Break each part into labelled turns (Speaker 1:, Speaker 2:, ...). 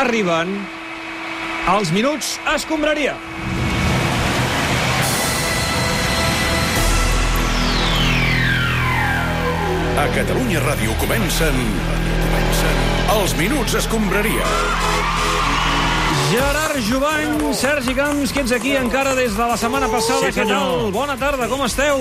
Speaker 1: Arriben els minuts escombraria.
Speaker 2: A Catalunya Ràdio comencen... comencen... Els Minuts Escombraria.
Speaker 1: Gerard Jovany, Sergi Camps, que ets aquí encara des de la setmana passada.
Speaker 3: Sí,
Speaker 1: Què
Speaker 3: senyor.
Speaker 1: tal? Bona tarda, com esteu?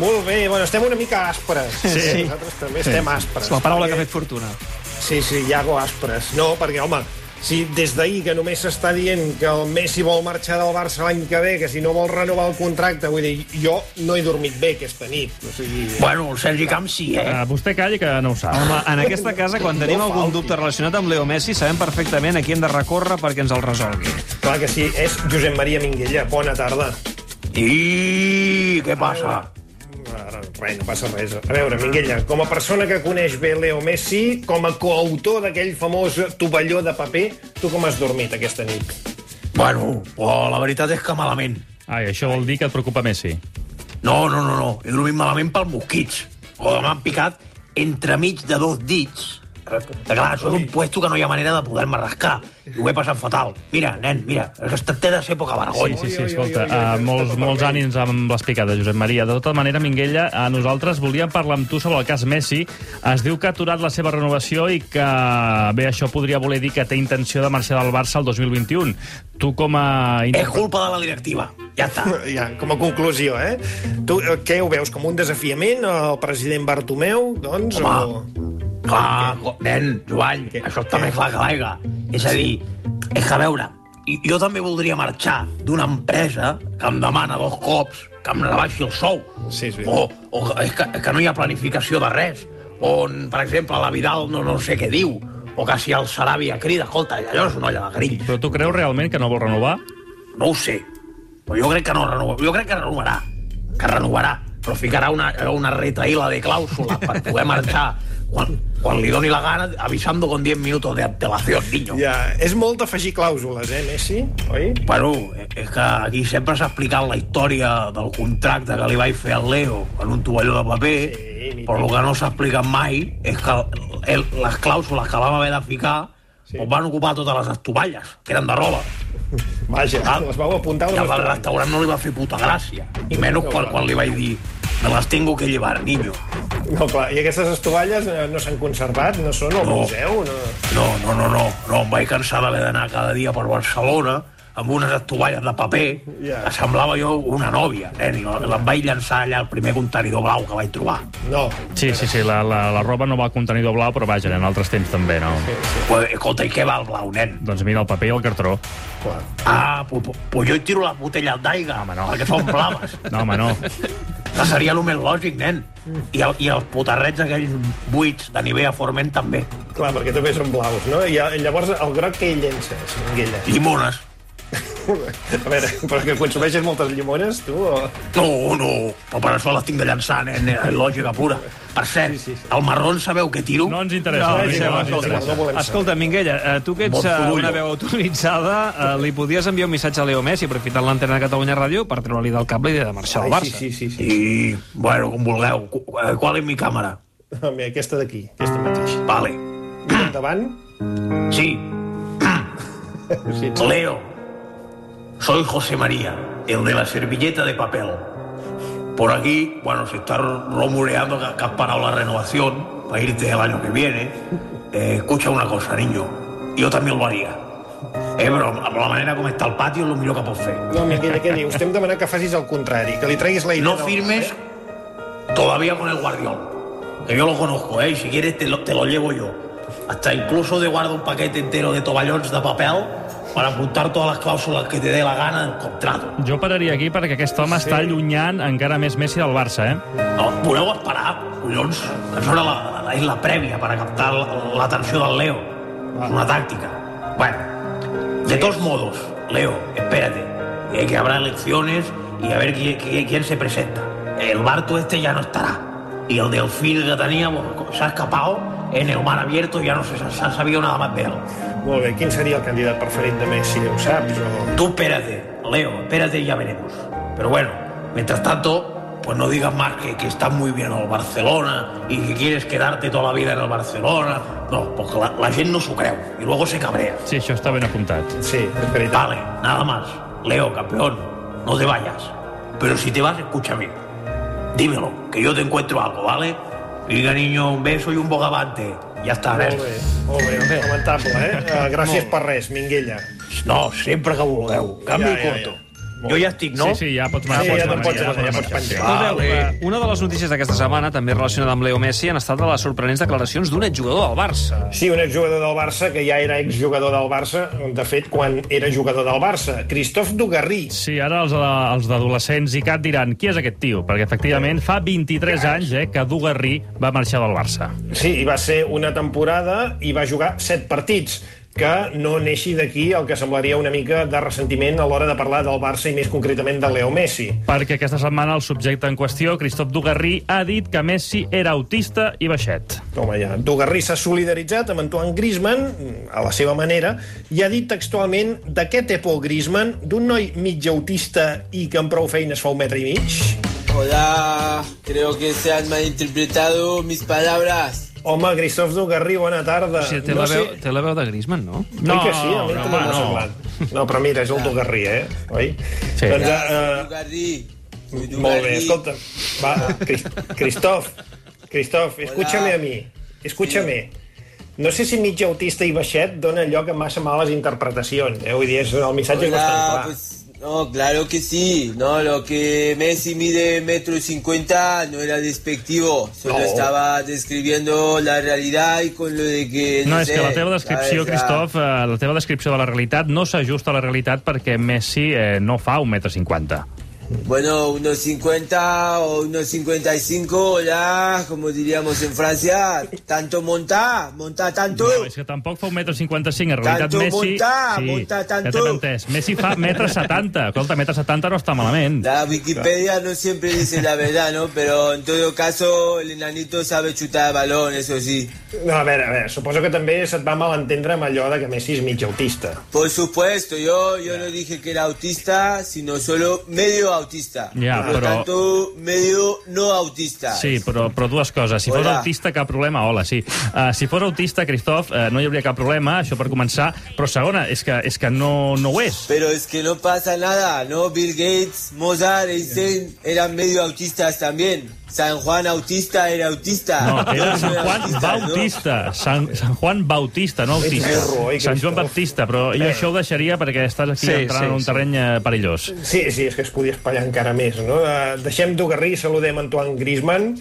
Speaker 3: Molt bé, bueno, estem una mica aspres. Sí. Nosaltres també sí. estem aspres.
Speaker 1: És la paraula que ha
Speaker 3: perquè...
Speaker 1: fet fortuna.
Speaker 3: Sí, sí, Iago aspres. No, perquè, home, si des d'ahir que només s'està dient que el Messi vol marxar del Barça l'any que ve, que si no vol renovar el contracte, vull dir, jo no he dormit bé aquesta nit. O sigui,
Speaker 4: Bueno, el Sergi Camps sí, eh?
Speaker 5: Eh, vostè calli que no ho sap.
Speaker 1: Home, en aquesta casa, quan tenim
Speaker 3: No
Speaker 1: algun
Speaker 3: falti.
Speaker 1: dubte relacionat amb Leo Messi, sabem perfectament a qui hem de recórrer perquè ens el resolgui.
Speaker 3: clar que sí, és Josep Maria Minguella. Bona tarda.
Speaker 4: I què passa?
Speaker 3: Ara, Res, no passa res. A veure, Minguella, com a persona que coneix bé Leo Messi, com a coautor d'aquell famós tovalló de paper, tu com has dormit aquesta nit?
Speaker 4: Bueno, oh, la veritat és que malament.
Speaker 5: Ai, això vol dir que et preocupa Messi.
Speaker 4: No, no, no, no. He dormit malament pel mosquits. O oh, m'han picat entremig de dos dits. Que clar, això és un puesto que no hi ha manera de poder-me rascar. I ho he passat fatal. Mira, nen, mira, és que té de ser poca
Speaker 5: Sí,
Speaker 4: vergonya.
Speaker 5: sí, sí,
Speaker 3: oi,
Speaker 5: escolta,
Speaker 3: oi, oi, oi,
Speaker 5: uh, molts,
Speaker 3: està
Speaker 5: molts
Speaker 3: tot
Speaker 5: ànims amb les picades, Josep Maria. De tota manera, Minguella, a nosaltres volíem parlar amb tu sobre el cas Messi. Es diu que ha aturat la seva renovació i que, bé, això podria voler dir que té intenció de marxar del Barça el 2021. Tu, com a...
Speaker 4: És culpa de la directiva. Ja està.
Speaker 3: Ja, com a conclusió, eh? Tu eh, què ho veus, com un desafiament al president Bartomeu, doncs?
Speaker 4: Home. Clar, nen, Joan,
Speaker 3: Què?
Speaker 4: això està
Speaker 3: Què?
Speaker 4: més clar que l'aigua. És a dir, és que a veure, i- jo també voldria marxar d'una empresa que em demana dos cops que em rebaixi el sou.
Speaker 3: Sí, és
Speaker 4: o, o que- és que, és que no hi ha planificació de res. On, per exemple, la Vidal no, no sé què diu. O que si el Sarabia crida, escolta, allò és una olla de grill.
Speaker 5: Però tu creus realment que no vol renovar?
Speaker 4: No ho sé. Però jo crec que no renova. Jo crec que renovarà. Que renovarà. Però ficarà una, una retaïla de clàusula per poder marxar quan, quan li doni la gana, avisando con 10 minutos de antelación, niño.
Speaker 3: Ja, és molt afegir clàusules, eh, Messi? Oi?
Speaker 4: Bueno, és que aquí sempre s'ha explicat la història del contracte que li vaig fer al Leo en un tovalló de paper,
Speaker 3: Sí,
Speaker 4: sí,
Speaker 3: mític.
Speaker 4: però el que no s'ha explicat mai és que el, les clàusules que vam haver de ficar sí. van ocupar totes les estovalles, que eren de roba.
Speaker 3: Vaja,
Speaker 4: Ah.
Speaker 3: les vau apuntar...
Speaker 4: I
Speaker 3: Les
Speaker 4: al del restaurant no li va fer puta gràcia. I menys quan, quan li vaig dir me las tengo que llevar, niño.
Speaker 3: No, clar, i aquestes estovalles eh, no s'han conservat, no són al
Speaker 4: No.
Speaker 3: museu, no...
Speaker 4: No, no, no, no. no em vaig cansar d'haver d'anar cada dia per Barcelona amb unes estovalles de paper
Speaker 3: Ja.
Speaker 4: que semblava jo una nòvia. Eh? I em vaig llançar allà al primer contenidor blau que vaig trobar.
Speaker 3: No.
Speaker 5: Sí, sí, sí, la, la, la roba no va al contenidor blau, però vaja, en altres temps també, no?
Speaker 4: Pues, escolta, i què va el blau, nen?
Speaker 5: Doncs mira, el paper i el cartró.
Speaker 3: Clar.
Speaker 4: Ah, pues, pues, pues jo hi tiro les botelles d'aigua,
Speaker 5: Home, no.
Speaker 4: perquè són blaves.
Speaker 5: No, home, no.
Speaker 4: Que seria el més lògic, nen. I, el, I els putarrets aquells buits de Nivea Forment també.
Speaker 3: Clar, perquè també són blaus, no? I eh, llavors el groc que hi llences, Minguella.
Speaker 4: Llimones.
Speaker 3: A veure, però que consumeixes moltes llimones, tu, o...
Speaker 4: No, no, però per això les tinc de llançar, nen, és lògica pura. Per cert,
Speaker 3: Sí, sí, sí.
Speaker 4: el marrón sabeu que tiro?
Speaker 5: No ens interessa.
Speaker 1: No,
Speaker 5: Vinga,
Speaker 1: deixem,
Speaker 5: no ens
Speaker 3: escolta,
Speaker 5: interessa.
Speaker 3: no volem
Speaker 1: Escolta, Minguella, eh, tu que ets
Speaker 4: Bon
Speaker 1: eh,
Speaker 4: sorollo.
Speaker 1: una veu autoritzada, eh, li podies enviar un missatge a Leo Messi aprofitant l'antena de Catalunya Ràdio per treure-li del cap la idea de marxar al
Speaker 3: Ai,
Speaker 1: Barça.
Speaker 3: sí, sí, sí, sí.
Speaker 4: I, bueno, com vulgueu. Qu- eh, Qual és mi càmera?
Speaker 3: Mira, aquesta d'aquí, aquesta mateixa.
Speaker 4: Vale.
Speaker 3: Endavant.
Speaker 4: Sí,
Speaker 3: Sí,
Speaker 4: Leo. Soy José María, el de la servilleta de papel. Por aquí, bueno, se está rumoreando que, que has parado la renovación para irte el año que viene. Eh, escucha una cosa, niño. Yo también lo haría. Eh, però amb la manera com està el pati és el millor que pots fer.
Speaker 3: No, Miquel, què dius? T'hem demanat que facis el contrari, que li treguis la
Speaker 4: Y
Speaker 3: idea.
Speaker 4: no
Speaker 3: del-
Speaker 4: firmes todavía con el guardión. Que yo lo conozco, ¿eh? Y si quieres te lo, te lo llevo yo. Hasta incluso te guardo un paquete entero de toballones de papel para apuntar todas las cláusulas que te dé la gana del contrato.
Speaker 5: Jo pararia aquí perquè aquest home sí. està allunyant encara més Messi del Barça, eh?
Speaker 4: No, voleu esperar, collons. Això era la, la, és la prèvia per a captar l- l'atenció del Leo. És una tàctica. Bueno, de todos modos, Leo, espérate. eh, que habrá elecciones y a ver qui- qui- quién, se presenta. El Barto este ya no estará. Y el delfín que teníamos se ha escapado en el mar abierto y ya no se, se ha sabido nada más de él.
Speaker 3: Molt bé, quin seria el candidat preferit de Messi, ho saps? O...
Speaker 4: Tú espérate, Leo, espérate y ya veremos. Pero bueno, mientras tanto, pues no digas más que, que estás muy bien al Barcelona y que quieres quedarte toda la vida en el Barcelona. No, porque la, la gent no s'ho creu i luego se cabrea.
Speaker 5: Sí, això està ben apuntat.
Speaker 3: Sí, és veritat.
Speaker 4: Vale, nada más. Leo, campeón, no te vayas. Pero si te vas, escúchame. Dímelo, que yo te encuentro algo, ¿vale? Venga, niño, un beso y un bogavante. Ya está,
Speaker 3: Molt
Speaker 4: res.
Speaker 3: bé, molt bé, lamentable, eh? Eh, Gràcies per res, Minguella.
Speaker 4: No, sempre que vulgueu. Canvi
Speaker 3: Ja, ja, ja.
Speaker 4: corto. Jo ja estic, no?
Speaker 5: Sí, sí, ja pots marxar.
Speaker 3: Ah, Sí, ja te'n
Speaker 5: marxar,
Speaker 3: pots anar, ja pots
Speaker 5: marxar, sí.
Speaker 4: Ah.
Speaker 3: penjar.
Speaker 1: Escolteu, eh, una de les notícies d'aquesta setmana, també relacionada amb Leo Messi, han estat les sorprenents declaracions d'un exjugador del Barça.
Speaker 3: Sí, un exjugador del Barça que ja era exjugador del Barça, de fet, quan era jugador del Barça. Christophe Dugarry.
Speaker 5: Sí, ara els, eh, els d'adolescents i cat diran qui és aquest tio, perquè efectivament fa 23 anys eh, que Dugarry va marxar del Barça.
Speaker 3: Sí, i va ser una temporada i va jugar set partits que no neixi d'aquí el que semblaria una mica de ressentiment a l'hora de parlar del Barça i més concretament de Leo Messi.
Speaker 5: Perquè aquesta setmana el subjecte en qüestió, Christophe Dugarry, ha dit que Messi era autista i baixet.
Speaker 3: Home, ja. Dugarry s'ha solidaritzat amb Antoine Griezmann, a la seva manera, i ha dit textualment d'aquest Epo Griezmann, d'un noi mig autista i que amb prou feines fa un metre i mig.
Speaker 6: Hola, creo que se han malinterpretado mis palabras.
Speaker 3: Home, Christophe Dugarry, bona tarda.
Speaker 1: O sigui, té, la veu, té la veu de Griezmann, no?
Speaker 3: No, que sí, a
Speaker 5: No,
Speaker 3: mi
Speaker 5: no,
Speaker 3: també m'ha
Speaker 5: home, no. Ah.
Speaker 3: semblat. No, però mira, és el Dugarry, eh? Oi?
Speaker 5: Sí.
Speaker 3: Doncs,
Speaker 6: Hola,
Speaker 3: eh,
Speaker 6: Dugarri. Soy
Speaker 3: eh, molt bé,
Speaker 6: Dugarri.
Speaker 3: escolta. Va, Crist Christoph, Christoph, escúchame a mi. Escúchame. No sé si mig autista i baixet dona lloc a massa males interpretacions, eh? Vull dir, és, el missatge és bastant
Speaker 6: Hola,
Speaker 3: clar.
Speaker 6: pues, no, claro que sí. No, lo que Messi mide metro cincuenta no era despectivo. Solo
Speaker 3: No.
Speaker 6: estaba describiendo la realidad y con lo de que.
Speaker 5: No, és que la teva descripció,
Speaker 6: ¿sabes? Ah,
Speaker 5: Christoph, eh, la teva descripció de la realitat no s'ajusta a la realitat perquè Messi eh, no fa 1,50 m.
Speaker 6: Bueno, unos 50 o unos 55, hola, como diríamos en Francia, tanto monta, monta tanto.
Speaker 5: No, és que tampoc fa 1,55 m. En realitat,
Speaker 6: Tanto
Speaker 5: Messi...
Speaker 6: muntar, muntar
Speaker 5: ja
Speaker 6: tanto.
Speaker 5: t'he entès. Messi fa 1,70 m. Escolta, 1,70 m no està malament.
Speaker 6: La Wikipedia no siempre dice la verdad, ¿no? Pero en todo caso, el enanito sabe chutar balón, eso sí.
Speaker 3: No, a veure, a veure, suposo que també se't va malentendre amb allò de que Messi és mig autista.
Speaker 6: Por supuesto, yo, yo no dije que era autista, sino solo medio autista.
Speaker 5: Ya,
Speaker 6: Por lo
Speaker 5: pero-
Speaker 6: tanto, medio no autista.
Speaker 5: Sí, però, però dues coses. Si fos
Speaker 6: Hola.
Speaker 5: autista, cap problema. Hola, sí. Uh, si fos autista, Cristof, uh, no hi hauria cap problema, això per començar. Però segona, és que, és que no, no ho és.
Speaker 6: Pero es que no pasa nada, ¿no? Bill Gates, Mozart, Einstein eran medio autistas también. San Juan autista era autista.
Speaker 5: No, era
Speaker 6: Todos
Speaker 5: Sant
Speaker 6: eran
Speaker 5: Juan
Speaker 6: autistas, ¿no?
Speaker 5: Bautista. Sant, Sant Juan Bautista, no autista.
Speaker 3: burro,
Speaker 6: eh,
Speaker 3: oi,
Speaker 5: Sant
Speaker 3: Christoph?
Speaker 5: Joan Baptista, però jo això ho deixaria perquè estàs aquí
Speaker 1: Sí,
Speaker 5: entrant
Speaker 1: sí,
Speaker 5: en un
Speaker 1: sí.
Speaker 5: terreny eh, perillós.
Speaker 3: Sí, sí, és que es podia espallar encara més, no? Eh, Deixem Dugarry, saludem Antoine Griezmann.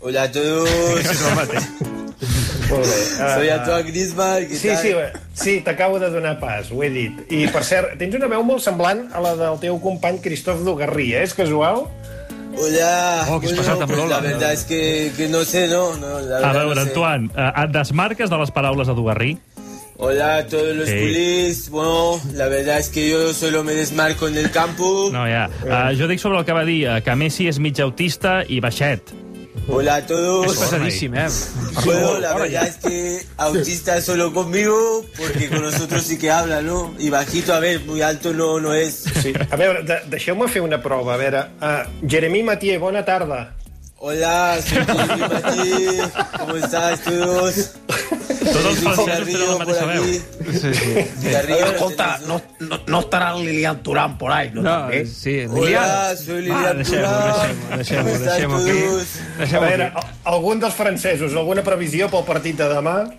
Speaker 6: Hola a todos.
Speaker 3: Molt bé. eh,
Speaker 6: Soy Antoine Griezmann. ¿qué
Speaker 3: Sí,
Speaker 6: tal?
Speaker 3: sí, bé. sí t'acabo de donar pas, ho he dit. I, per cert, tens una veu molt semblant a la del teu company Christoph Dugarry, eh? És casual?
Speaker 6: Hola.
Speaker 1: Oh, que es pasa tan
Speaker 6: pues
Speaker 1: Lola.
Speaker 6: La verdad es que, que no sé, ¿no? no la
Speaker 5: A
Speaker 6: verdad no
Speaker 5: veure,
Speaker 6: sé.
Speaker 5: Antoine, eh, et desmarques de les paraules de Dugarrí?
Speaker 6: Hola a todos los
Speaker 5: Sí.
Speaker 6: culis. Bueno, la verdad es que yo solo me desmarco en el campo.
Speaker 5: No, ja.
Speaker 7: Eh.
Speaker 5: Uh, jo dic sobre el que va dir, eh, que Messi és mig autista i baixet.
Speaker 6: Hola a todos.
Speaker 1: És pesadíssim, eh?
Speaker 6: Bueno, la verdad es que autista es solo conmigo, porque con nosotros sí que habla, ¿no? Y bajito, a ver, muy alto no, no es.
Speaker 3: Sí. A veure, de deixeu-me fer una prova. A veure, uh, Jeremy Mathieu, bona tarda.
Speaker 6: Hola, soy Jimmy Mati. ¿Cómo estás todos?
Speaker 5: Tots els
Speaker 6: Feliz
Speaker 5: francesos tenen la
Speaker 6: Garrido por
Speaker 5: mateixa veu.
Speaker 6: aquí.
Speaker 1: Sí, sí.
Speaker 6: Garrido,
Speaker 4: Oye, escolta,
Speaker 6: tenés,
Speaker 4: no, no, no estarà el Lilian Turán por ahí, no?
Speaker 1: No, eh,
Speaker 4: També?
Speaker 1: sí,
Speaker 6: Hola,
Speaker 1: Lilian.
Speaker 6: soy
Speaker 1: Va,
Speaker 6: Lilian
Speaker 1: deixem-ho, deixem-ho,
Speaker 6: Turán.
Speaker 1: deixem-ho, deixem-ho aquí.
Speaker 3: A
Speaker 1: Deixem-ho
Speaker 3: veure,
Speaker 1: aquí.
Speaker 3: al- algun dels francesos, alguna previsió pel partit de demà?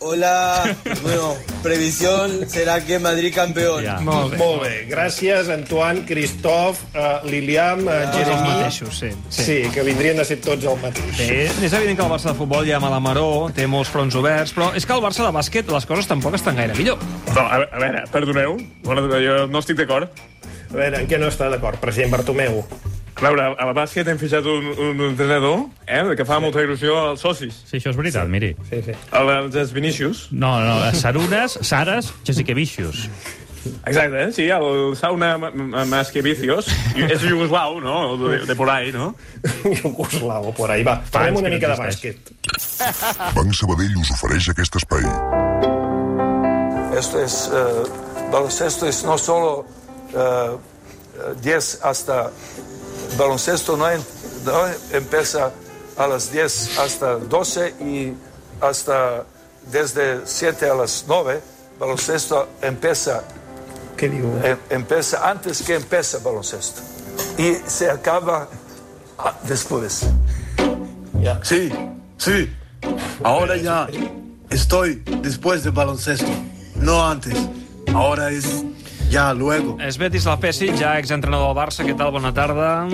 Speaker 6: Hola, bueno, previsión será que Madrid campeón.
Speaker 5: Ja.
Speaker 1: Molt bé.
Speaker 3: Molt bé, gràcies, Antoine, Christophe, uh, Liliam, uh,
Speaker 1: Tots els
Speaker 3: Jeremy...
Speaker 1: mateixos, sí.
Speaker 3: Sí, que vindrien a ser tots el mateix.
Speaker 1: Sí, eh, és evident que el Barça de futbol ja mala maró, té molts fronts oberts, però és que el Barça de bàsquet les coses tampoc estan gaire millor.
Speaker 8: No, a, ve- a veure, perdoneu, bona, jo no estic d'acord.
Speaker 3: A veure, en què no està d'acord, president Bartomeu?
Speaker 8: A veure, a la bàsquet hem fitxat un, un entrenador eh, que fa molta il·lusió als socis,
Speaker 5: Sí, això és veritat, miri.
Speaker 3: Sí, sí.
Speaker 8: als Vinícius.
Speaker 5: No, no, a Sarunes, Sares, Jessica Vicious.
Speaker 8: Exacte, eh? sí, el Sauna Ma- Ma- Masquevicius. És iugoslau, no? De, de por ahí, no?
Speaker 3: Iugoslavo, por ahí. Va, parlem
Speaker 5: Fans
Speaker 3: una
Speaker 5: que no
Speaker 3: mica de
Speaker 5: existeix.
Speaker 3: bàsquet.
Speaker 9: Banc Sabadell us ofereix aquest espai.
Speaker 10: Esto es, eh, baloncesto es no solo eh, eh, 10 hasta, baloncesto no es ¿no? Empieza a las 10 hasta 12 y hasta desde 7 a las 9. Baloncesto empieza,
Speaker 3: Què diu?
Speaker 10: em- empieza antes que empieza baloncesto. Y se acaba ah, después.
Speaker 7: Sí, sí. Ahora ya estoy después del baloncesto, no antes. Ahora es ya luego.
Speaker 1: És Betis la Pessi, ja exentrenador del Barça. Què tal? Bona tarda.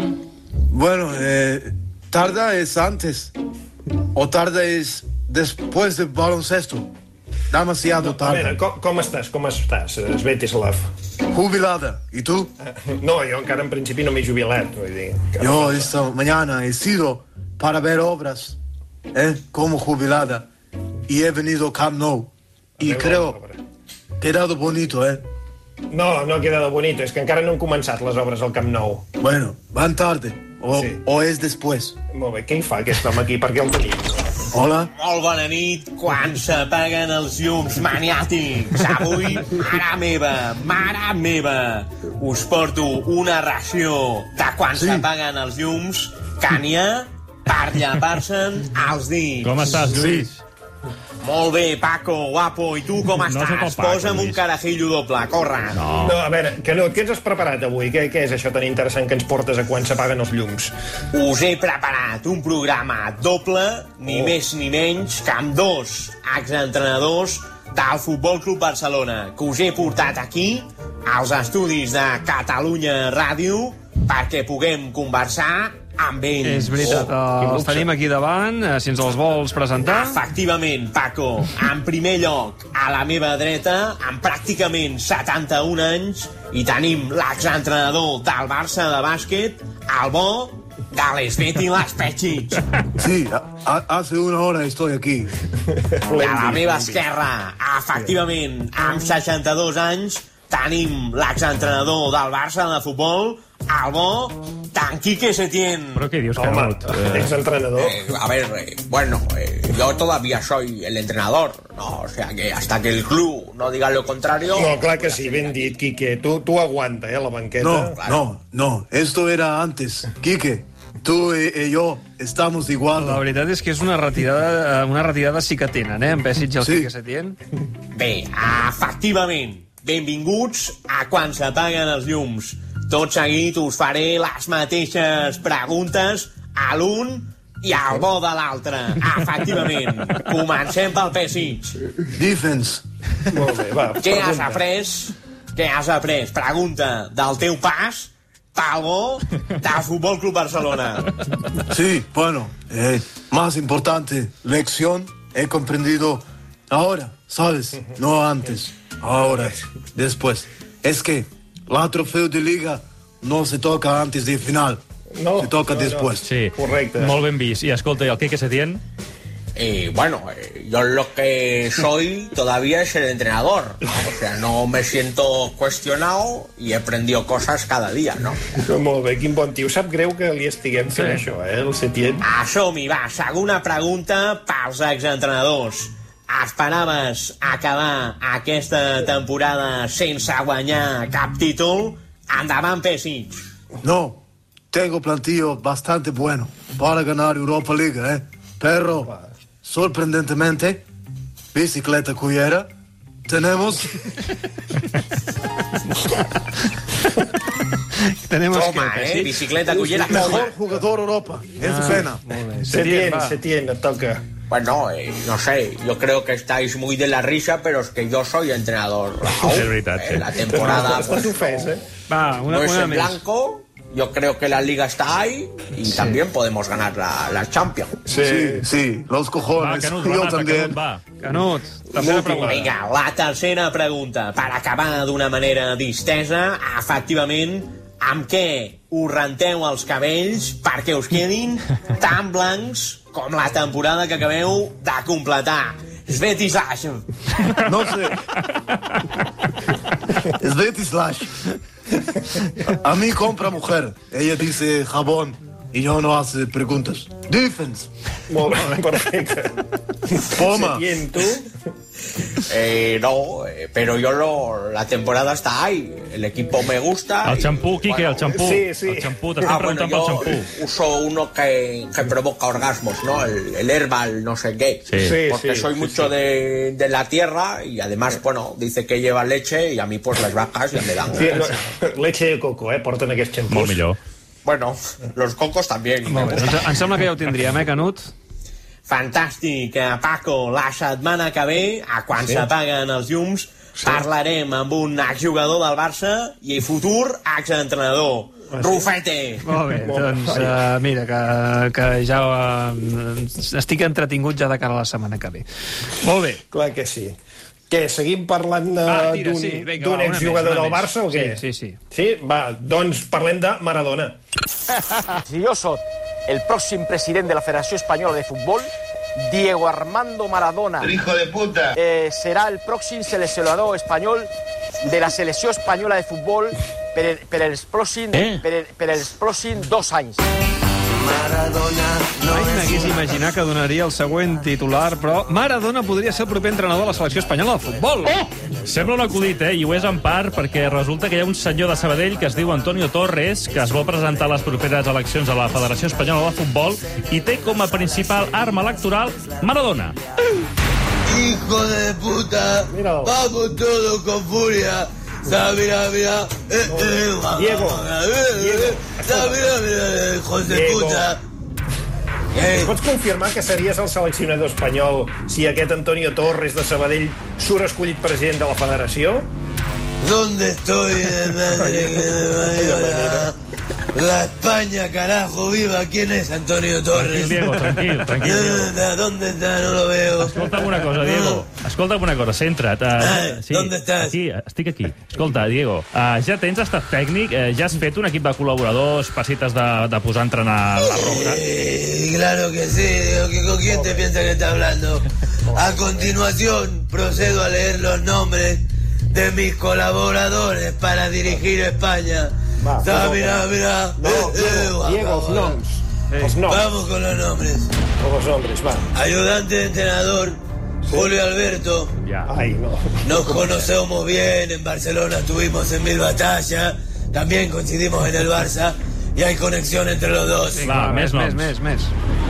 Speaker 7: Bueno, eh, tarda es antes o tarda es después del baloncesto. Demasiado
Speaker 3: A veure,
Speaker 7: tarde.
Speaker 3: com, com estàs? Com estàs, eh, Svetislav?
Speaker 7: Jubilada. ¿Y tú?
Speaker 3: No, jo encara en principi no m'he jubilat, vull dir. que-
Speaker 7: Yo esta mañana he sido para ver obras ¿eh? como jubilada y he venido Camp Nou y
Speaker 3: Déu
Speaker 7: creo
Speaker 3: obra.
Speaker 7: quedado bonito, ¿eh?
Speaker 3: No, no ha quedat bonito, és que encara no han començat les obres al Camp Nou.
Speaker 7: eh. Bueno, van tarde o,
Speaker 3: Sí.
Speaker 7: o es después.
Speaker 3: Molt bé, què hi fa aquest home aquí? Per què el tenim?
Speaker 7: Hola.
Speaker 11: Molt bona nit, quan s'apaguen els llums maniàtics. Avui, mare meva, mare meva, us porto una ració de quan
Speaker 7: Sí.
Speaker 11: s'apaguen els llums que n'hi ha per llepar-se'n els dits.
Speaker 12: Com estàs, Lluís?
Speaker 11: Molt bé, Paco, guapo, i tu com
Speaker 12: No sóc el
Speaker 11: estàs?
Speaker 12: Paco,
Speaker 11: Posa'm un
Speaker 12: Lluís.
Speaker 11: carajillo doble, corre. No.
Speaker 3: No, a veure, que no, què ens has preparat avui? Què, què és això tan interessant que ens portes a quan s'apaguen els llums?
Speaker 11: Us he preparat un programa doble, ni
Speaker 3: Oh.
Speaker 11: més ni menys, que amb dos exentrenadors del Futbol Club Barcelona, que us he portat aquí, als estudis de Catalunya Ràdio, perquè puguem conversar amb ells. Oh,
Speaker 1: És veritat, eh, els tenim aquí davant, eh, si ens els vols presentar.
Speaker 11: Efectivament, Paco. En primer lloc, a la meva dreta, amb pràcticament 71 anys, hi tenim l'exentrenador del Barça de bàsquet, el bo de l'Esbeti Laspechich.
Speaker 7: Sí, a- a- hace una hora estoy aquí.
Speaker 11: I a la meva esquerra, efectivament, amb 62 anys, tenim l'exentrenador del Barça de futbol, el bo d'en Quique Setién.
Speaker 12: Però què dius,
Speaker 3: Home,
Speaker 12: Carmut?
Speaker 3: ets Eh. entrenador.
Speaker 11: a ver, eh, bueno, eh, yo todavía soy el entrenador, ¿no? O sea que hasta que el club no diga lo contrario.
Speaker 3: No, clar que sí, ben dit, Quique. Tu, tu aguanta, eh, la banqueta.
Speaker 7: No, no, no. Esto era antes. Quique, tú y, y yo estamos igual.
Speaker 1: La veritat és que és una retirada, eh, una retirada sí que tenen, eh? En Pessic i el
Speaker 7: Sí.
Speaker 1: sí. que se tien.
Speaker 11: Bé, efectivament, benvinguts a Quan s'apaguen els llums. Tot seguit us faré les mateixes preguntes a l'un i al bo de l'altre. Efectivament, comencem pel Pessic.
Speaker 7: Defense.
Speaker 3: Molt bé, Eh, va,
Speaker 11: Què has
Speaker 3: pregunta.
Speaker 11: après? Què has après? Pregunta del teu pas pel bo del Futbol Club Barcelona.
Speaker 7: Sí, bueno, eh, más importante, lección he comprendido ahora, ¿sabes? No antes, ahora, después. Es que la trofeo de liga no se toca antes de final,
Speaker 3: No,
Speaker 7: se toca
Speaker 3: no, no.
Speaker 7: después.
Speaker 12: Sí,
Speaker 3: Correcte.
Speaker 12: molt ben vist. I escolta, i el Quique Setién?
Speaker 11: Eh, bueno, eh, yo lo que soy todavía es el entrenador. ¿no? O sea, no me siento cuestionado y he aprendido cosas cada día, ¿no?
Speaker 3: Molt bé, quin bon tio. Sap greu que li estiguem fent sí. això, eh, el Setién.
Speaker 11: Som-hi, va, segona pregunta pels exentrenadors. Esperaves acabar aquesta temporada sense guanyar cap títol? Endavant, Pesic.
Speaker 7: No, tengo plantillo bastante bueno para ganar Europa League, ¿eh? Pero, sorprendentemente, bicicleta cuyera, tenemos...
Speaker 1: Tenem
Speaker 11: Toma,
Speaker 1: esquerra,
Speaker 11: eh?
Speaker 1: sí?
Speaker 11: Bicicleta, cullera, toma.
Speaker 7: Mejor jugador Europa. Es pena.
Speaker 3: Setién,
Speaker 1: va.
Speaker 3: Setién, et toca.
Speaker 11: Bueno, eh, no sé, yo creo que estáis muy de la risa, pero es que yo soy entrenador.
Speaker 12: Es verdad,
Speaker 11: Eh,
Speaker 12: sí.
Speaker 11: La temporada
Speaker 3: Estàs ofès, eh?
Speaker 1: Va, una,
Speaker 11: no es
Speaker 1: una
Speaker 11: en
Speaker 1: més.
Speaker 11: blanco. Yo creo que la liga está ahí y también podemos ganar la, la Champions.
Speaker 7: Sí, Ah, sí, los
Speaker 12: Va,
Speaker 7: cojones.
Speaker 12: Canut,
Speaker 7: Yo
Speaker 12: va, mata,
Speaker 7: también.
Speaker 12: Canut, va.
Speaker 1: Canut, tercera pregunta.
Speaker 11: Vinga, la tercera pregunta. Per acabar d'una manera distesa, efectivament, amb què us renteu els cabells perquè us quedin tan blancs com la temporada que acabeu de completar? Svetislash.
Speaker 7: No sé. Es Betty Slash. A mí compra mujer. Ella dice jabón y yo no hace preguntas. Defense.
Speaker 3: Molt bé, perfecte.
Speaker 7: Poma.
Speaker 3: Setién, tu?
Speaker 11: Eh, no, eh, pero yo lo, la temporada está ahí. El equipo me gusta.
Speaker 5: El
Speaker 11: y,
Speaker 5: champú, Quique, el champú.
Speaker 11: Sí, sí.
Speaker 5: El champú, t'estic
Speaker 11: Ah,
Speaker 5: preguntant
Speaker 11: yo
Speaker 5: pel champú.
Speaker 11: uso uno que, que provoca orgasmos, ¿no? El, el herbal, no sé qué.
Speaker 5: Sí. Sí,
Speaker 11: Porque
Speaker 5: sí,
Speaker 11: soy
Speaker 5: sí,
Speaker 11: mucho De, de la tierra y además, bueno, dice que lleva leche y a mí pues las vacas ya me dan.
Speaker 3: Sí, no, leche de coco, eh? Porten aquests xampús.
Speaker 5: Molt millor.
Speaker 11: Bueno, los cocos también.
Speaker 1: Molt bé, doncs em sembla que ja ho tindríem, eh, Canut?
Speaker 11: Fantàstic, eh, Paco. La setmana que ve, a quan
Speaker 1: Sí.
Speaker 11: s'apaguen els llums, parlarem amb un exjugador del Barça i futur exentrenador.
Speaker 5: Ah,
Speaker 11: Rufete!
Speaker 1: Molt bé, doncs uh, mira, que, que ja uh, estic entretingut ja de cara a la setmana que ve.
Speaker 3: Molt bé. Clar que sí. Què, seguim parlant eh,
Speaker 1: Ah, tira,
Speaker 3: d'un
Speaker 1: sí, vinga, va,
Speaker 3: d'un
Speaker 1: una
Speaker 3: exjugador
Speaker 1: més, una
Speaker 3: del
Speaker 1: més.
Speaker 3: Barça o què?
Speaker 1: Sí, sí, sí.
Speaker 3: Sí? Va, doncs parlem de Maradona.
Speaker 12: Si yo soy el próximo presidente de la Federación Española de Fútbol, Diego Armando Maradona.
Speaker 13: El hijo de puta.
Speaker 12: eh, será el próximo seleccionador español de la Selección Española de Fútbol per, per el próximo per- per els pròxims dos anys.
Speaker 1: Mai m'hagués imaginar que donaria el següent titular, però Maradona podria ser el proper entrenador de la selecció espanyola de futbol. Oh!
Speaker 5: Sembla un acudit, eh? I ho és en part perquè resulta que hi ha un senyor de Sabadell que es diu Antonio Torres, que es vol presentar a les properes eleccions a la Federació Espanyola de Futbol i té com a principal arma electoral Maradona.
Speaker 14: Hijo de puta, vamos todos con furia. Da, mira, mira, eh, eh,
Speaker 3: Diego,
Speaker 14: Diego, da, mira, mira, hijos de
Speaker 3: Diego.
Speaker 14: puta. Eh,
Speaker 3: Ens pots confirmar que series el seleccionador espanyol si aquest Antonio Torres de Sabadell surt escollit president de la federació?
Speaker 14: ¿Dónde estoy? de madre que me vaya La la España, carajo, viva. ¿Quién es Antonio Torres?
Speaker 5: Diego, tranquil, tranquil, Diego.
Speaker 14: ¿Dónde está? ¿Dónde está? No lo veo.
Speaker 5: Escolta'm una cosa, Diego. Escolta'm una cosa, centra't. Uh, sí, ¿Dónde estàs? Aquí, estic aquí. Escolta, Diego, uh, ja tens estat tècnic, uh, ja has fet un equip de col·laboradors, passites de, de posar a entrenar la roca.
Speaker 14: Eh, claro que sí, digo, que ¿con quién te piensas que está hablando? A continuación procedo a leer los nombres de mis colaboradores para dirigir España.
Speaker 3: Va,
Speaker 14: Ah,
Speaker 3: no,
Speaker 14: mirá,
Speaker 3: no.
Speaker 14: mirá.
Speaker 3: No,
Speaker 14: Eh, eh,
Speaker 3: Diego,
Speaker 14: guapa,
Speaker 3: Diego, els
Speaker 14: guapa.
Speaker 3: noms. Els noms.
Speaker 14: Vamos con los nombres.
Speaker 3: Els nombres, va.
Speaker 14: Ayudante de entrenador, Julio Alberto.
Speaker 3: Ai, no.
Speaker 14: Nos conocemos bien, en Barcelona estuvimos en mil batallas, también coincidimos en el Barça y hay conexión entre los dos.
Speaker 1: Vinga, més, més, més, més.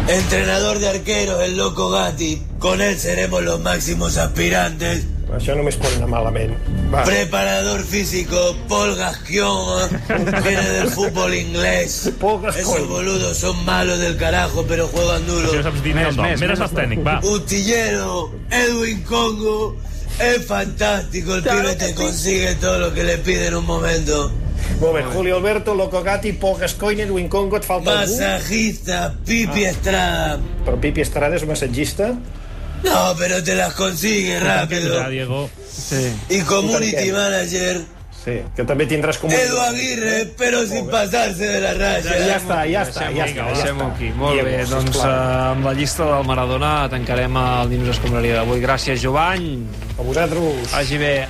Speaker 14: Entrenador de arqueros, el loco Gatti. Con él seremos los máximos aspirantes.
Speaker 3: Això només pot anar malament. Va.
Speaker 14: Preparador físico, Paul Gasquion. ¿eh? Viene del fútbol inglés. Esos boludos son malos del carajo, pero juegan duro.
Speaker 5: Si no saps dir ni el nom. Més, Mira més, el tècnic, va.
Speaker 14: Utillero, Edwin Congo. Es fantástico, el pibe te consigue todo lo que le pide en un momento.
Speaker 3: Molt bé, Julio Alberto, Loco Gatti, Pau Gascoigne, Edwin Congo, et falta
Speaker 14: Massajista, Pipi Estrada.
Speaker 3: Però Pipi Estrada és massatgista?
Speaker 14: No, pero te las consigue
Speaker 11: Ah,
Speaker 14: rápido.
Speaker 5: Diego.
Speaker 3: Sí.
Speaker 14: Y community manager.
Speaker 3: Sí, que també tindràs com...
Speaker 14: Edu Aguirre, pero sin pasarse de la raya.
Speaker 3: Ja està, ja està, ja
Speaker 1: Vinga,
Speaker 3: està.
Speaker 1: va,
Speaker 3: Ja
Speaker 1: deixem-ho
Speaker 3: està.
Speaker 1: aquí. Molt bé,
Speaker 3: Diego,
Speaker 1: doncs eh,
Speaker 3: sisplau.
Speaker 1: amb la llista del Maradona tancarem el Dinos Escombraria d'avui. Gràcies, Jovany.
Speaker 3: A vosaltres.
Speaker 1: Vagi bé.